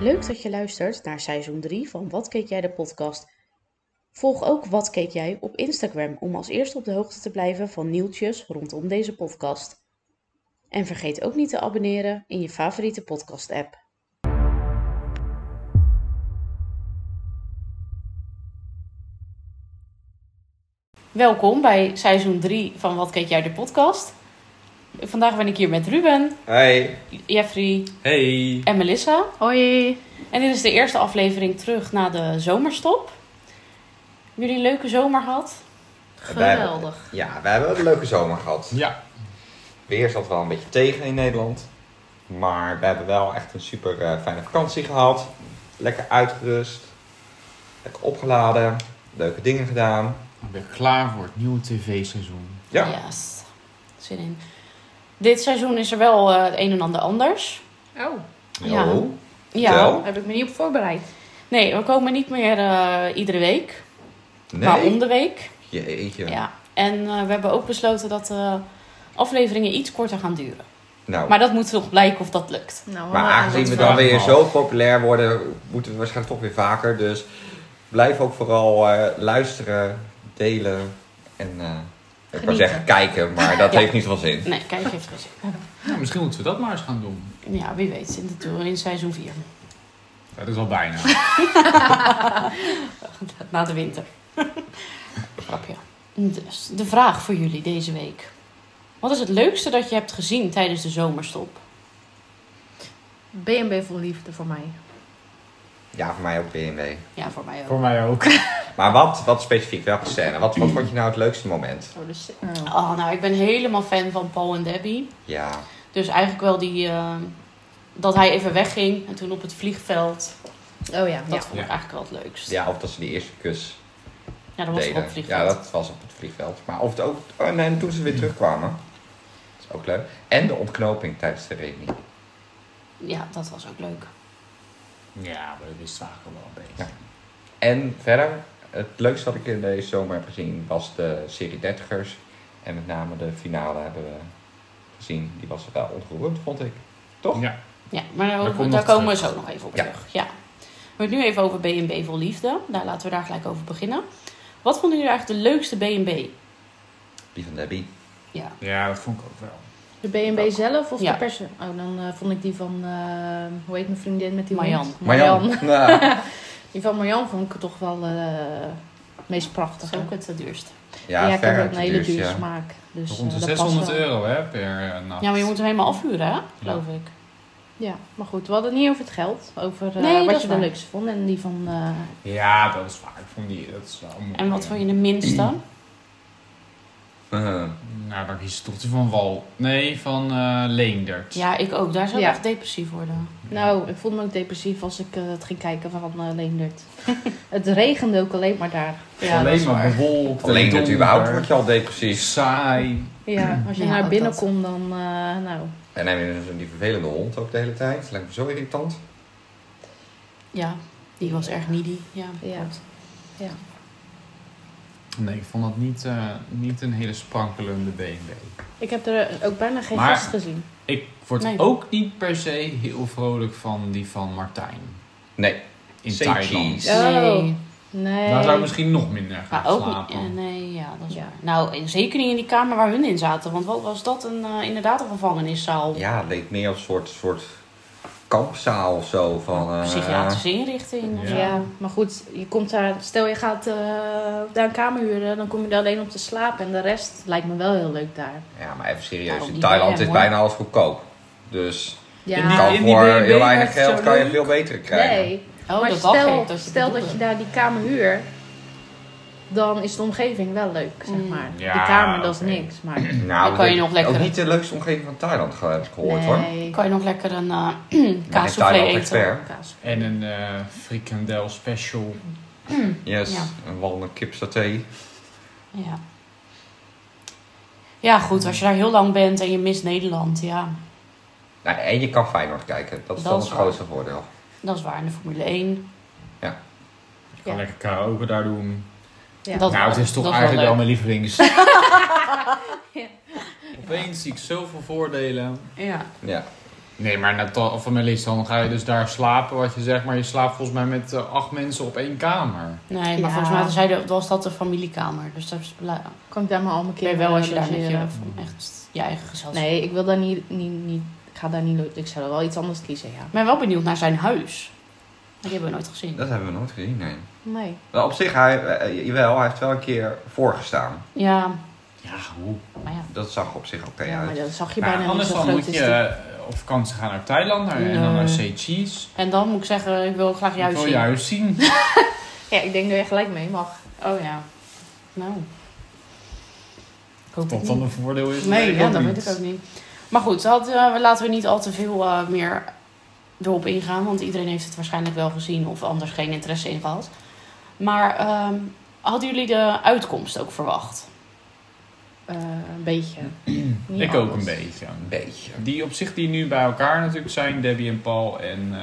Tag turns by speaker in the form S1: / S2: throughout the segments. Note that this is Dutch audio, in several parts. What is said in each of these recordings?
S1: Leuk dat je luistert naar seizoen 3 van Wat Keek Jij de podcast. Volg ook Wat Keek Jij op Instagram om als eerste op de hoogte te blijven van nieuwtjes rondom deze podcast. En vergeet ook niet te abonneren in je favoriete podcast app. Welkom bij seizoen 3 van Wat Keek Jij de podcast. Vandaag ben ik hier met Ruben,
S2: Hi.
S1: Jeffrey
S2: Hey.
S1: en Melissa.
S3: Hoi.
S1: En dit is de eerste aflevering terug na de zomerstop. Jullie een leuke zomer gehad?
S3: Geweldig.
S2: Ja, we hebben een leuke zomer gehad.
S4: Ja,
S2: Weer zat wel een beetje tegen in Nederland. Maar we hebben wel echt een super eh, fijne vakantie gehad. Lekker uitgerust. Lekker opgeladen. Leuke dingen gedaan.
S4: ik ben klaar voor het nieuwe tv-seizoen.
S2: Ja.
S1: Yes. Zin in. Dit seizoen is er wel eh, het een en ander anders.
S3: Oh,
S1: Ja.
S2: Oh. Vertel.
S3: daar heb ik me niet op voorbereid.
S1: Nee, we komen niet meer eh, iedere week, maar om
S2: Nee.
S1: de week.
S2: Jeetje.
S1: Ja. En eh, we hebben ook besloten dat de afleveringen iets korter gaan duren.
S2: Nou,
S1: Maar dat moet nog blijken of dat lukt.
S3: Nou,
S2: maar aangezien we dan
S4: vraag ik
S2: weer
S4: me
S2: zo populair worden, moeten we waarschijnlijk toch weer vaker. Dus blijf ook vooral eh, luisteren, delen en eh, ik wou
S3: Genieten.
S2: zeggen kijken, maar dat
S1: Ja.
S2: heeft niet zoveel zin.
S1: Nee, kijk even. gezien.
S4: Nou, misschien moeten we dat maar eens gaan doen.
S1: Ja, wie weet. In, de, in seizoen 4.
S4: Dat is al bijna.
S1: Na de winter. Grapje. Dus, de vraag voor jullie deze week. Wat is het leukste dat je hebt gezien tijdens de zomerstop?
S3: BNB vol liefde voor mij.
S2: Ja, voor mij ook BMW.
S1: Ja, voor mij ook.
S4: voor mij ook.
S2: Maar wat, wat specifiek, welke scène? Wat, wat vond je nou het leukste moment?
S3: Oh, dus,
S1: Oh, nou, ik ben helemaal fan van Paul en Debbie.
S2: Ja,
S1: Dus eigenlijk wel die... eh, dat hij even wegging en toen op het vliegveld.
S3: oh ja,
S1: Dat
S3: ja.
S1: vond ik
S4: Ja.
S1: eigenlijk wel het leukst. Ja,
S2: ja of dat ze die eerste kus
S1: dat was toch op het
S2: deden.
S1: vliegveld.
S2: Ja, dat was op het vliegveld. Maar of het ook, oh, en- en toen ze weer terugkwamen. Dat is ook leuk. En de ontknoping tijdens de reunie.
S1: Ja, dat was ook leuk.
S4: Ja, maar dat wist ik eigenlijk al wel een beetje.
S2: Ja. En verder, het leukste wat ik in deze zomer heb gezien was de serie Dertigers. En met name de finale hebben we gezien. Die was wel ontroerend, vond ik. Toch?
S4: Ja.
S1: Ja, maar daar,
S4: Daar komt
S1: daar
S4: nog
S1: komen we
S4: terug.
S1: zo nog even op
S2: Ja.
S1: terug. Ja. We hebben het nu even over B&B Vol Liefde. Daar laten we daar gelijk over beginnen. Wat vonden jullie eigenlijk de leukste B&B?
S2: Die van Debbie.
S1: Ja.
S4: ja, dat vond ik ook wel.
S3: De BNB zelf of
S1: Ja.
S3: de persen? Oh, dan eh, vond ik die van, eh, hoe heet mijn vriendin met die hond?
S1: Marjan.
S3: Marjan.
S2: Marjan. Nou,
S3: Die van Marjan vond ik toch wel eh, het meest
S1: Dat
S3: prachtig.
S1: is ook het eh, duurste.
S2: ja,
S3: ik heb
S2: verre
S3: ook een
S2: te
S3: hele
S2: duur,
S3: dure
S2: ja.
S3: smaak. Dus,
S4: Rond de
S3: eh, dat past
S4: 600
S3: wel.
S4: euro hè, per eh, nacht.
S1: Ja, maar je moet hem helemaal afhuren, hè? Geloof ik.
S3: Ja, maar goed, we hadden het niet over het geld. Over eh,
S1: Nee, dat
S3: wat
S1: is
S3: je
S1: waar.
S3: de leukste vond. En die van, eh,
S4: Ja, dat is waar. Ik vond die, dat is wel mooi.
S1: En wat vond je de minste?
S2: Mhm.
S4: Nou, dan kies je toch die van Wal. Nee, van eh Leendert.
S1: Ja, ik ook. Daar zou ik
S3: Ja.
S1: echt depressief worden.
S3: Nou, ik voelde me ook depressief als ik eh, het ging kijken van eh, Leendert. het regende ook alleen maar daar. Ja, dat
S4: Alleen
S3: is
S4: maar
S3: waar.
S4: bewolkt. en
S2: Alleen dat
S4: donker.
S2: überhaupt word je al depressief.
S4: Saai.
S3: Ja, als je
S1: Ja,
S3: naar
S1: ook
S3: binnen
S1: dat.
S3: komt, dan, eh, nou,
S2: En dan hebben ze die vervelende hond ook de hele tijd. Dat lijkt me zo irritant.
S1: Ja, die was erg needy. Ja,
S3: Ja.
S1: klopt.
S4: Nee, ik vond dat niet, eh, niet een hele sprankelende BNB.
S3: ik heb er ook bijna geen
S4: Maar-
S3: gast gezien.
S4: Ik word
S1: Nee.
S4: ook niet per se heel vrolijk van die van Martijn.
S2: Nee.
S4: In
S2: Say
S4: Thailand.
S2: cheese.
S3: Nee.
S1: Nee.
S3: Nee.
S4: Daar zou ik misschien nog minder gaan
S1: Maar ook niet.
S4: slapen.
S1: ja, nee, ja, dat is
S3: Ja.
S1: waar. Nou, en zeker niet in die kamer waar hun in zaten. Want wat was dat? Een, eh, inderdaad een gevangeniszaal.
S2: Ja, het leek meer als een soort, soort kampzaal of zo. Van, eh,
S1: Psychiatrische inrichting. of
S3: ja.
S1: zo.
S3: maar goed, je komt daar, stel je gaat eh, daar een kamer huren, dan kom je daar alleen om te slapen. En de rest lijkt me wel heel leuk daar.
S2: ja, maar even serieus.
S1: Daarom
S2: In
S1: die
S2: Thailand
S1: dingen,
S2: is
S1: hoor.
S2: bijna alles goedkoop. Dus
S3: Ja,
S4: In
S2: je
S4: die-
S2: kan
S4: die
S2: voor
S4: BNB
S2: heel
S4: werd
S2: weinig
S4: het
S2: geld
S4: zo
S2: kan je
S4: leuk.
S2: veel beter krijgen.
S3: nee.
S1: Oh,
S3: maar
S1: dat
S3: stel,
S1: dacht ik.
S3: stel dat je daar die kamer huurt, dan is de omgeving wel leuk, zeg
S1: Mm.
S3: maar.
S4: Ja,
S3: die kamer, dat is
S4: oké.
S3: niks, maar...
S2: Nou,
S1: Dan kan je nog lekker-
S2: Ook niet de leukste omgeving van Thailand, ge- heb ik gehoord hoor. Maar
S3: nee.
S1: Kan je nog lekker een eh
S2: in
S1: kaassoufflé
S2: Thailand
S1: eten.
S2: expert.
S3: Kaas.
S4: En een eh frikandel special.
S2: Yes,
S1: Ja.
S2: een walnut saté.
S1: Ja. ja, goed. Als je daar heel lang bent en je mist Nederland, ja.
S2: Nou, en je kan Feyenoord kijken. Dat is
S1: Dat
S2: dan
S1: is
S2: het
S1: waar.
S2: grootste voordeel.
S1: Dat is waar. In de Formule 1.
S4: Ik kan
S3: Ja.
S4: lekker karaoke daar doen.
S3: Ja.
S1: Dat-
S4: nou, het is
S1: dat
S4: toch
S1: is wel
S4: eigenlijk wel
S1: leuk.
S4: mijn lievelings. Opeens zie ik zoveel voordelen.
S1: Ja.
S2: Ja.
S4: Nee, maar naar Tal- of naar Lissabon ga je dus daar slapen. Wat je zegt, maar je slaapt volgens mij met eh, acht mensen op één kamer.
S1: Nee, maar
S3: Ja.
S1: volgens mij zei de- was dat de familiekamer. Dus dat is blij-
S3: Kan ik daar maar al mijn
S1: ben je
S3: kinderen
S1: wel als je daar met
S3: logeren?
S1: je, echt je eigen gezelschap...
S3: Nee, ik wil daar niet, niet, niet... Ik ga daar niet... lo- Ik zou wel iets anders kiezen, ja.
S1: Ik ben wel benieuwd naar zijn huis. Maar die hebben we nooit gezien.
S2: Dat hebben we nooit gezien, nee.
S3: Nee.
S2: Wel, op zich, hij, eh, jawel, hij heeft wel een keer voorgestaan.
S1: Ja,
S4: Ja, hoe?
S1: maar ja.
S2: Dat zag op zich oké
S3: Ja, maar
S2: uit.
S3: dat zag je
S4: Nou,
S3: bijna niet
S4: anders
S3: zo
S4: dan
S3: groot
S4: moet
S1: dus
S3: is
S4: je
S3: die.
S4: eh, op vakantie gaan naar Thailand naar- en dan
S1: Nee.
S4: naar Say Cheese.
S1: En dan moet ik zeggen, ik wil graag je
S4: Ik
S1: huis
S4: wil
S1: zien.
S4: je huis zien.
S3: Ja, ik denk dat je gelijk mee mag.
S1: Oh ja. Nou. Ik hoop het
S4: Wat
S1: niet.
S4: dan een voordeel is.
S1: Nee,
S4: ik
S1: ja,
S4: ook
S1: dat
S4: niet.
S1: weet ik ook niet. Maar goed, dat, eh, laten we niet al te veel eh, meer erop ingaan. Want iedereen heeft het waarschijnlijk wel gezien of anders geen interesse in gehad. Maar ehm, hadden jullie de uitkomst ook verwacht?
S3: Eh, een beetje. Niet
S4: Ik ook
S3: alles.
S4: een beetje.
S2: Een beetje.
S4: Die op zich die nu bij elkaar natuurlijk zijn, Debbie en Paul en eh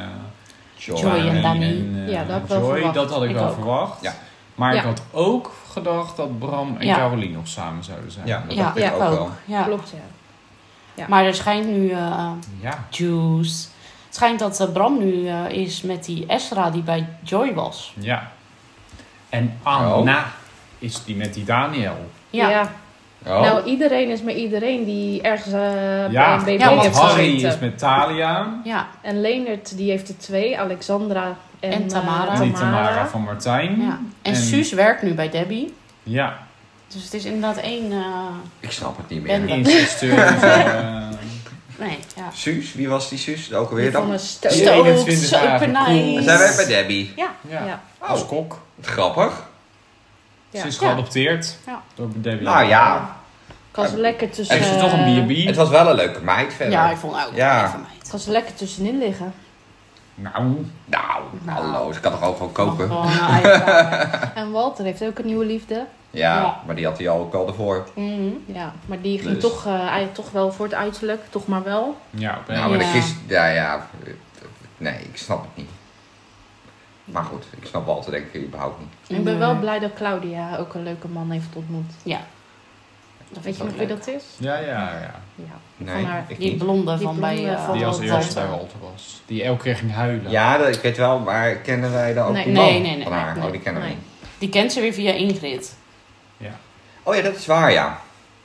S2: Joy.
S1: Joy en
S4: Dani
S1: Dani.
S4: en, eh,
S3: Ja, dat had ik wel
S4: Joy,
S3: verwacht.
S4: dat had ik,
S1: Ik
S4: wel
S1: ook.
S4: verwacht.
S2: Ja.
S4: Maar ik
S3: Ja.
S4: had ook gedacht dat Bram en
S1: Ja.
S4: Caroline nog samen zouden zijn.
S2: Ja, dat dacht
S3: ja,
S2: ik ook
S1: ook.
S2: wel.
S1: Ja.
S3: Klopt, ja. Ja.
S1: Maar er schijnt nu eh,
S4: Ja.
S1: juice. Het schijnt dat eh, Bram nu eh, is met die Esra die bij Joy was.
S4: ja. En Anna is die met die Daniel.
S1: Ja.
S2: Oh,
S3: Nou, iedereen is met iedereen die ergens eh, bij
S4: ja,
S3: een BB
S1: ja,
S4: want
S3: heeft
S4: Harry
S3: gezeten.
S4: is met Talia.
S1: Ja.
S3: En Leonard, die heeft er twee. Alexandra en,
S1: En
S3: eh,
S1: Tamara.
S4: En die Tamara van Martijn.
S1: ja. En,
S4: En-
S1: Suus werkt nu bij Debbie.
S4: Ja,
S1: Dus het is inderdaad één... eh,
S2: ik snap het niet
S1: Ben-
S2: meer.
S4: instructeur. eh,
S1: nee, ja.
S2: Suus, wie was die Suus ook
S3: Die
S2: alweer
S3: van
S2: dan?
S3: een stoot.
S4: Ja.
S1: Stookt,
S4: 21
S1: super
S4: dagen cool.
S1: nice.
S2: Zijn wij bij Debbie? Oh,
S4: ja.
S3: Ja.
S4: als kok.
S2: Grappig.
S3: Ja.
S4: Ze is
S1: Ja.
S4: geadopteerd
S1: Ja.
S4: door Debbie.
S2: Nou ja,
S3: Ik was lekker tussen...
S4: Heeft ze toch een B&B?
S2: het was wel een leuke meid verder.
S1: Ja, ik vond ook
S2: Ja.
S1: even meid.
S3: Ik was lekker tussenin liggen.
S4: Nou,
S2: Nou,
S1: Nou.
S2: hallo, ze kan toch ook gewoon
S1: Mag
S2: koken?
S1: gewoon een ei vragen.
S3: En Walter heeft ook een nieuwe liefde.
S2: Ja,
S1: Ja.
S2: maar die had hij al ook al ervoor.
S1: Mhm.
S3: Ja, maar die ging
S2: Dus.
S3: toch, eh, eigenlijk toch wel voor het uiterlijk. Toch maar wel.
S4: ja, op een
S2: Nou, maar
S1: Ja.
S2: de kist, ja, ja, eh, nee, ik snap het niet. Maar goed, ik snap Walter denk ik überhaupt niet.
S3: Ik ben wel
S1: Nee.
S3: blij dat Claudia ook een leuke man heeft ontmoet.
S1: Dat vind
S3: Weet je
S1: ik
S3: nog
S1: ook
S3: wie
S1: leuk.
S3: dat is?
S4: Ja, ja, ja.
S3: Ja.
S2: Nee,
S3: haar-
S2: ik
S1: Die
S2: niet.
S1: blonde
S3: Die
S1: van
S3: blonde
S1: bij... eh,
S3: van
S4: Die als
S3: Walter.
S4: eerste bij Walter was. Die elke keer ging huilen.
S2: Ja, dat, ik weet wel, maar kennen wij dan ook
S3: Nee,
S2: die
S1: nee,
S2: man
S1: nee, nee,
S2: van haar?
S1: nee,
S2: oh, die kennen we
S3: nee.
S2: niet.
S1: Die kent ze weer via Ingrid.
S2: Oh ja, dat is waar, ja.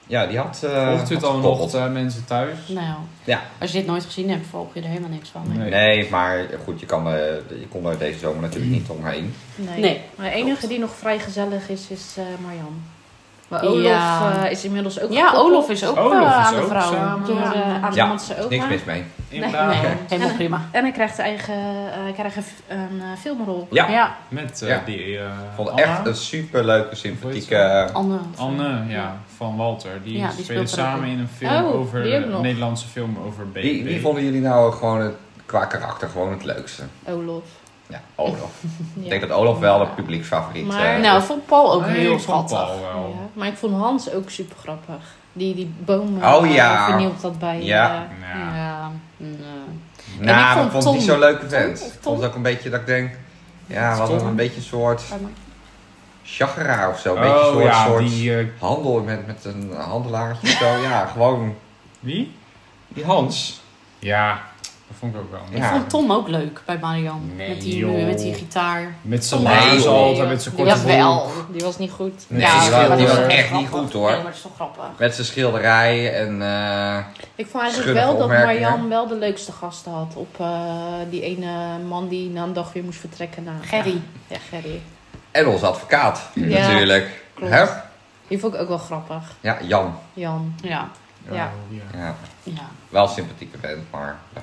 S2: Ja, die had... eh,
S4: Volgt u het
S2: had
S4: dan
S2: gekoppeld.
S4: nog, eh, mensen thuis?
S1: Nou,
S2: Ja.
S1: als je dit nooit gezien hebt, volg je er helemaal niks van. hè?
S4: Nee.
S2: Nee, maar goed, je, kan, eh, je kon er deze zomer natuurlijk niet
S1: Hmm.
S2: omheen.
S3: Nee.
S1: Nee.
S3: Maar de enige
S1: Klopt.
S3: die nog vrij gezellig is, is eh, Marjan. Maar
S1: Ja.
S3: Olof eh, is inmiddels ook
S1: Ja,
S3: gekoppeld
S1: Olof is ook
S4: Olof
S1: eh,
S4: is
S1: aan de
S4: ook
S1: vrouw.
S4: samen.
S3: Door
S1: Ja.
S3: eh aan
S2: Ja,
S3: de Hollandse
S2: Is
S3: oma.
S2: niks mis mee.
S4: Inderdaad.
S1: Nee, helemaal prima.
S3: En hij krijgt eigen, eh, hij krijgt een, f- een eh, filmrol.
S2: Ja,
S1: Ja,
S4: Met eh,
S2: Ja.
S4: die eh
S2: ik vond het
S4: Anna.
S2: echt een superleuke, sympathieke...
S1: Anne.
S4: Anne, ja, van Walter. Die,
S1: Ja, die
S4: spelen
S1: speelt er ook
S4: samen
S1: in.
S4: in een film
S3: Oh,
S4: over,
S3: die ook
S4: een
S3: nog.
S4: Nederlandse film over baby.
S2: Wie, wie eh, vonden jullie nou gewoon het, qua karakter gewoon het leukste?
S3: Olof.
S2: Ja, Olof.
S3: Ja.
S2: Ik denk dat Olof wel de publieksfavoriet
S3: Maar-
S2: eh,
S1: Nou,
S2: is.
S1: vond Paul ook
S4: Nee,
S1: heel
S4: ik vond
S1: schattig.
S4: Paul wel.
S3: Ja. Maar ik vond Hans ook super grappig. Die, die boom
S2: Oh,
S3: eh,
S2: ja.
S3: vernield dat bij.
S2: Ja.
S3: eh,
S4: Nou,
S1: Ja, mm, eh. nee.
S2: Nou,
S1: En ik
S2: maar
S1: vond
S2: ik vond
S1: Tom-
S2: die zo'n leuke vent.
S1: Tom of
S2: Ik vond het ook een beetje dat ik denk... Ja,
S4: Tom.
S2: wat een beetje een soort chageraar of zo. Een beetje een
S4: Oh
S2: soort,
S4: ja,
S2: soort
S4: die... eh,
S2: handel met, met een handelaartje of zo. Ja, gewoon
S4: wie?
S2: die Hans.
S4: Ja, dat vond ik ook wel.
S1: ik
S2: Ja.
S1: vond Tom ook leuk bij Marian.
S4: Nee,
S1: met, die,
S4: joh.
S1: met die gitaar.
S4: Met zijn
S1: Tom-
S4: laars
S2: Nee,
S4: altijd,
S3: joh.
S4: met zijn
S3: Die
S4: korte
S3: was
S1: wel.
S4: broek.
S3: Die was niet goed.
S2: Nee, die,
S4: dat
S2: was, die
S4: was
S2: was
S4: wel
S2: echt
S1: grappig.
S2: niet goed
S1: Nee, maar
S2: hoor.
S1: dat is toch grappig.
S2: Met zijn schilderijen en... eh,
S3: Ik vond eigenlijk
S2: Schunnige
S3: wel dat
S2: opmerkingen.
S3: Marjan wel de leukste gasten had. Op eh, die ene man die na een dag weer moest vertrekken naar...
S1: Gerry.
S3: Ja, Gerry.
S2: en onze advocaat
S3: Ja,
S2: natuurlijk.
S3: klopt.
S2: Hè?
S3: Die vond ik ook wel grappig.
S2: Ja, Jan.
S3: Jan.
S1: Ja,
S3: Ja.
S4: Oh, ja.
S2: Ja.
S1: ja.
S2: Wel een sympathieke vent, maar ja,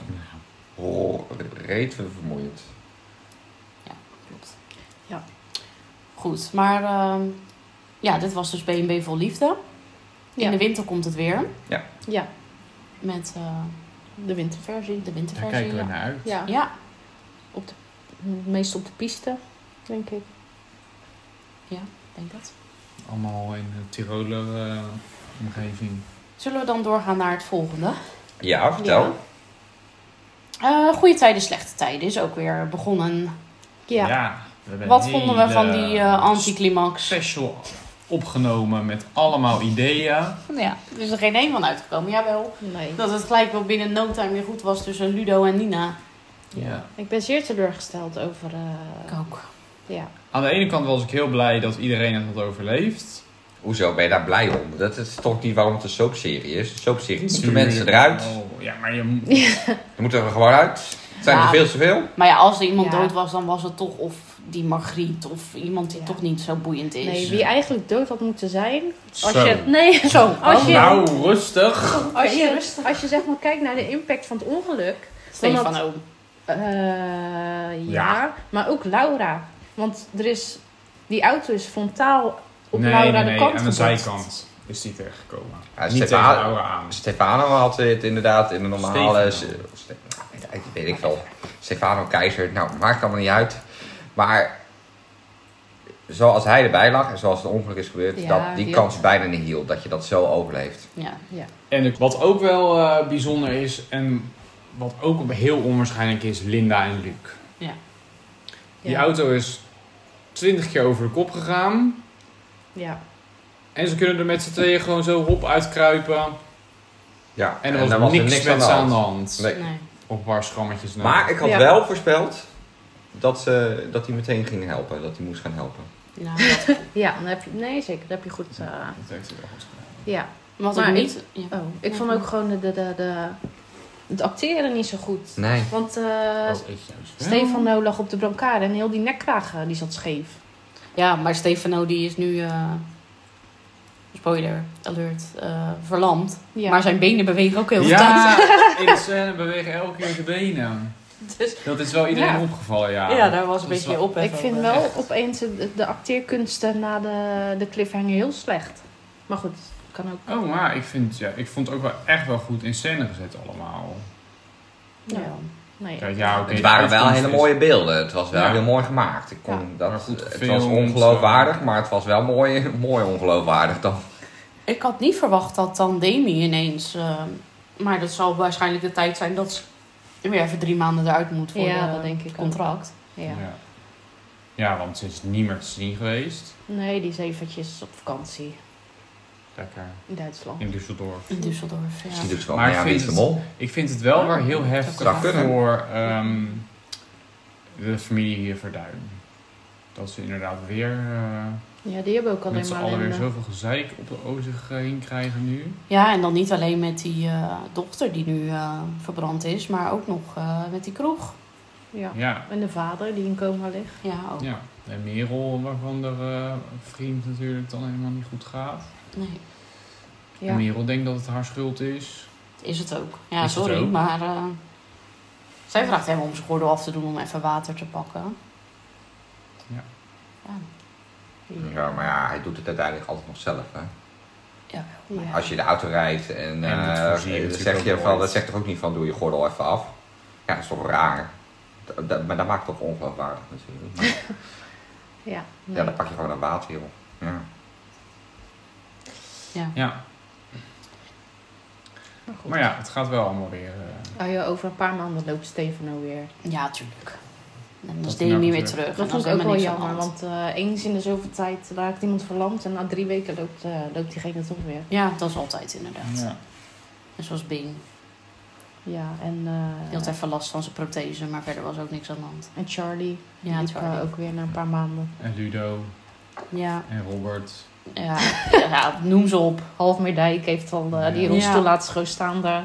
S2: oh, reet we vermoeiend.
S1: Klopt.
S3: Ja.
S1: Goed, maar ehm, ja, dit was dus BNB vol liefde. In
S3: Ja.
S1: de winter komt het weer
S3: Ja,
S1: met eh,
S3: de winterversie.
S1: de
S4: Daar
S1: winterversie.
S4: kijken we naar uit.
S3: Ja,
S1: ja. ja,
S3: meestal op de piste, denk ik.
S1: ik denk dat.
S4: Allemaal in de Tiroler eh, omgeving.
S1: Zullen we dan doorgaan naar het volgende?
S2: Ja, vertel.
S3: Ja.
S1: Eh goede tijden, slechte tijden is ook weer begonnen.
S3: Ja.
S4: we hebben
S1: Wat
S4: een
S1: vonden we van
S4: hele
S1: die eh, anticlimax?
S4: special opgenomen met allemaal ideeën.
S1: Ja, er is er geen één van uitgekomen. Jawel.
S3: Nee.
S1: Dat het gelijk wel binnen no time weer goed was tussen Ludo en Nina.
S4: Ja.
S3: Ik ben zeer teleurgesteld over... eh,
S1: ook.
S3: ja.
S4: Aan de ene kant was ik heel blij dat iedereen het had overleefd.
S2: Hoezo ben je daar blij om? Dat is toch niet waarom het een soapserie is. Een soapserie moeten mensen eruit.
S4: Oh, ja, maar je moet-
S2: Dan moeten we er gewoon uit. Het zijn
S1: Ja.
S2: er veel te veel.
S1: Maar ja, als er iemand
S3: Ja.
S1: dood was, dan was het toch of die Margriet of iemand die
S3: Ja.
S1: toch niet zo boeiend is.
S3: Nee, wie eigenlijk dood had moeten zijn. Als
S4: Zo.
S3: je, nee,
S1: Zo.
S3: als je,
S4: Nou, rustig.
S3: als
S1: Oké,
S3: je,
S1: rustig.
S3: als je zeg maar kijkt naar de impact van het ongeluk.
S1: Stefan
S3: Want-
S1: ook.
S3: eh, ja,
S4: Ja.
S3: maar ook Laura. Want er is, die auto is frontaal op
S4: nee,
S3: Laura
S4: nee,
S3: de
S4: nee,
S3: kant
S4: aan de
S3: gebotst.
S4: zijkant is die tegengekomen.
S2: Ja,
S4: Niet tegen
S2: Stefan-
S4: Laura aan.
S2: Stefano had het inderdaad in de normale.
S4: Stefano.
S2: Ste- Ste- nou, weet ik wel. Stefano Keizer, nou maakt allemaal niet uit. Maar zoals hij erbij lag en zoals het ongeluk is gebeurd,
S3: Ja,
S2: dat, die
S3: die-
S2: kans bijna niet hield dat je dat zo overleeft.
S1: Ja.
S3: Ja.
S4: En ik- wat ook wel eh, bijzonder is en wat ook heel onwaarschijnlijk is, Linda en Luc. Die
S3: ja.
S4: auto is 20 keer over de kop gegaan.
S3: Ja.
S4: En ze kunnen er met z'n tweeën gewoon zo hop uitkruipen.
S2: Ja,
S4: En er was, niks, met ze aan de hand.
S2: Nee.
S1: Nee.
S4: Op nou. een paar schrammetjes na.
S2: Maar ik had
S3: Ja.
S2: wel voorspeld dat, ze, dat hij meteen ging helpen, dat hij moest gaan helpen.
S1: Nou, dat-
S3: ja, dan heb je, nee zeker, dat heb je goed. eh,
S4: Dat heeft hij wel goed gedaan.
S3: ja.
S1: wat
S3: Maar
S1: ik
S3: ik-
S1: niet... ja.
S3: Oh, ik vond ook gewoon de, de, de, de, het acteren niet zo goed.
S2: Nee.
S3: Want eh
S4: Dat is juist wel.
S3: Stefano lag op de brancard en heel die nekkraag eh, die zat scheef.
S1: Ja, maar Stefano die is nu... eh, spoiler alert. eh, verlamd.
S3: Ja.
S1: Maar zijn benen bewegen ook heel snel.
S4: Ja, in de scène bewegen elke keer de benen.
S1: Dus-
S4: Dat is wel iedereen
S3: Ja.
S4: opgevallen, ja.
S1: Ja, daar was een
S4: Dat is
S1: beetje
S4: wel-
S1: op.
S3: ik vind wel
S1: eh,
S3: opeens de, de acteerkunsten na de, de cliffhanger heel slecht. Maar goed, kan ook.
S4: Oh, maar ik, vind, ja, ik vond het ook wel echt wel goed in scène gezet allemaal.
S3: Nou Ja.
S1: Ja.
S3: Nee.
S4: Kijk, ja, oké,
S2: Het
S4: de
S2: waren wel
S4: uitkomst
S2: hele
S4: is-
S2: mooie beelden. Het was wel
S4: Ja.
S2: heel mooi gemaakt. Ik kon,
S4: Maar
S2: dat,
S4: goed
S2: het
S4: gefilmd,
S2: was ongeloofwaardig, maar het was wel mooi, mooi ongeloofwaardig dan.
S1: Ik had niet verwacht dat dan Demi ineens... eh, maar dat zal waarschijnlijk de tijd zijn dat ze weer even drie maanden eruit moet voor
S3: Ja,
S1: de-
S3: dat denk ik ook.
S1: contract.
S3: Ja.
S4: Ja. Ja, want ze is niet meer te zien geweest.
S3: Nee, die is eventjes op vakantie
S4: Lekker.
S3: in Duitsland.
S4: In Düsseldorf.
S1: In Düsseldorf, ja.
S2: Misschien doet ze wel
S4: Maar
S2: mee
S4: ik
S2: aan
S4: vind
S2: Wies de
S4: het-
S2: Mol.
S4: Ik vind het wel weer heel heftig
S2: Zou kunnen.
S4: voor ehm, de familie hier Verduin. Dat ze inderdaad weer eh,
S3: Ja, die hebben ook
S4: met
S3: alleen
S4: z'n
S3: maar
S4: allen weer
S3: een, eh,
S4: zoveel gezeik op de ozig heen krijgen nu.
S1: Ja, en dan niet alleen met die eh, dochter die nu eh, verbrand is, maar ook nog eh, met die kroeg.
S3: ja.
S4: Ja,
S3: En de vader die in coma ligt.
S1: Ja, ook.
S4: ja. En Merel, waarvan de eh, vriend natuurlijk dan helemaal niet goed gaat.
S1: Nee,
S4: En
S3: Ja.
S4: Merel denkt dat het haar schuld is.
S1: is het ook. Ja,
S4: Is het
S1: sorry,
S4: ook.
S1: maar eh, zij vraagt hem om zijn gordel af te doen om even water te pakken.
S4: Ja.
S1: Ja,
S2: Ja, maar ja, hij doet het uiteindelijk altijd nog zelf. Hè?
S1: ja.
S3: Ja.
S2: Als je de auto rijdt en,
S4: En dat
S2: eh,
S4: voorzie je
S2: dan
S4: natuurlijk
S2: zeg je
S4: ook
S2: van,
S4: nooit.
S2: dat zegt toch ook niet van doe je gordel even af. Ja, dat is toch raar. Dat- dat- maar dat maakt het toch ongeloofwaardig natuurlijk. Maar-
S3: Ja.
S2: ja,
S3: nee.
S2: dan pak je gewoon een water, joh. Ja.
S4: Ja,
S3: Maar goed.
S4: maar ja, het gaat wel allemaal weer. eh,
S3: Ah ja, over een paar maanden loopt Stefano weer.
S1: ja tuurlijk. En dan
S4: Dat
S1: is
S4: hij nou
S1: Demi weer
S4: weer terug.
S1: terug.
S3: Dat
S1: en dan
S3: vond
S1: is
S3: ik ook
S1: helemaal
S3: wel
S1: niks aan de
S3: jammer,
S1: hand.
S3: want eh, eens in de zoveel tijd raakt iemand verlamd en na drie weken loopt, eh, loopt diegene toch weer.
S1: Ja, dat is altijd inderdaad.
S4: ja.
S1: En zoals Bing.
S3: Ja, en,
S1: Die had
S3: eh,
S1: even last van zijn prothese, maar verder was ook niks aan de hand.
S3: en Charlie
S1: Ja,
S3: liep
S1: Charlie.
S3: eh, ook weer na een paar maanden.
S4: En Ludo
S1: Ja,
S4: en Robert.
S1: ja, ja, noem ze op.
S3: Halfmeerdijk heeft al eh, die
S4: Ja.
S3: rolstoel
S1: Ja.
S3: laatst gewoon staan daar.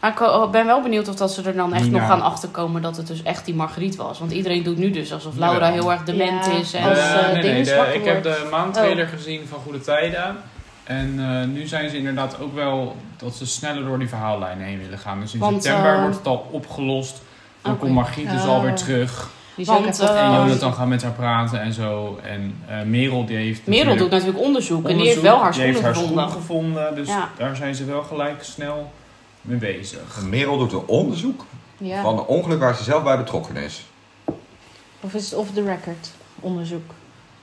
S1: Maar ik ho- ben wel benieuwd of dat ze er dan echt
S4: Nina.
S1: nog gaan achterkomen dat het dus echt die Margriet was. Want iedereen doet nu dus alsof
S4: Jawel.
S1: Laura heel erg dement
S3: Ja,
S1: is. En
S3: als,
S4: Eh,
S3: eh,
S4: nee, nee,
S3: dingen
S4: de-
S3: zwakker
S4: ik heb
S3: wordt.
S4: de
S1: Oh.
S4: maandtrailer gezien van Goede Tijden. En eh, nu zijn ze inderdaad ook wel dat ze sneller door die verhaallijn heen willen gaan. Dus in
S1: Want,
S4: september
S1: eh,
S4: wordt het al opgelost. Dan
S1: oké.
S4: komt Margriet dus
S3: Oh.
S4: alweer terug.
S3: Die is
S1: Want,
S3: ook even-
S1: eh,
S4: En
S1: Oh.
S4: Jonathan gaat met haar praten en zo. En eh, Merel die heeft
S1: Merel doet
S4: natuurlijk
S1: natuurlijk onderzoek, en die heeft
S4: onderzoek.
S1: wel haar
S4: Die
S1: schoenen
S4: heeft
S1: gevonden.
S4: schoenen gevonden, Dus
S1: Ja.
S4: daar zijn ze wel gelijk snel mee bezig.
S2: Merel doet een onderzoek
S3: ja.
S2: van een ongeluk waar ze zelf bij betrokken is.
S3: Of is het off the record onderzoek?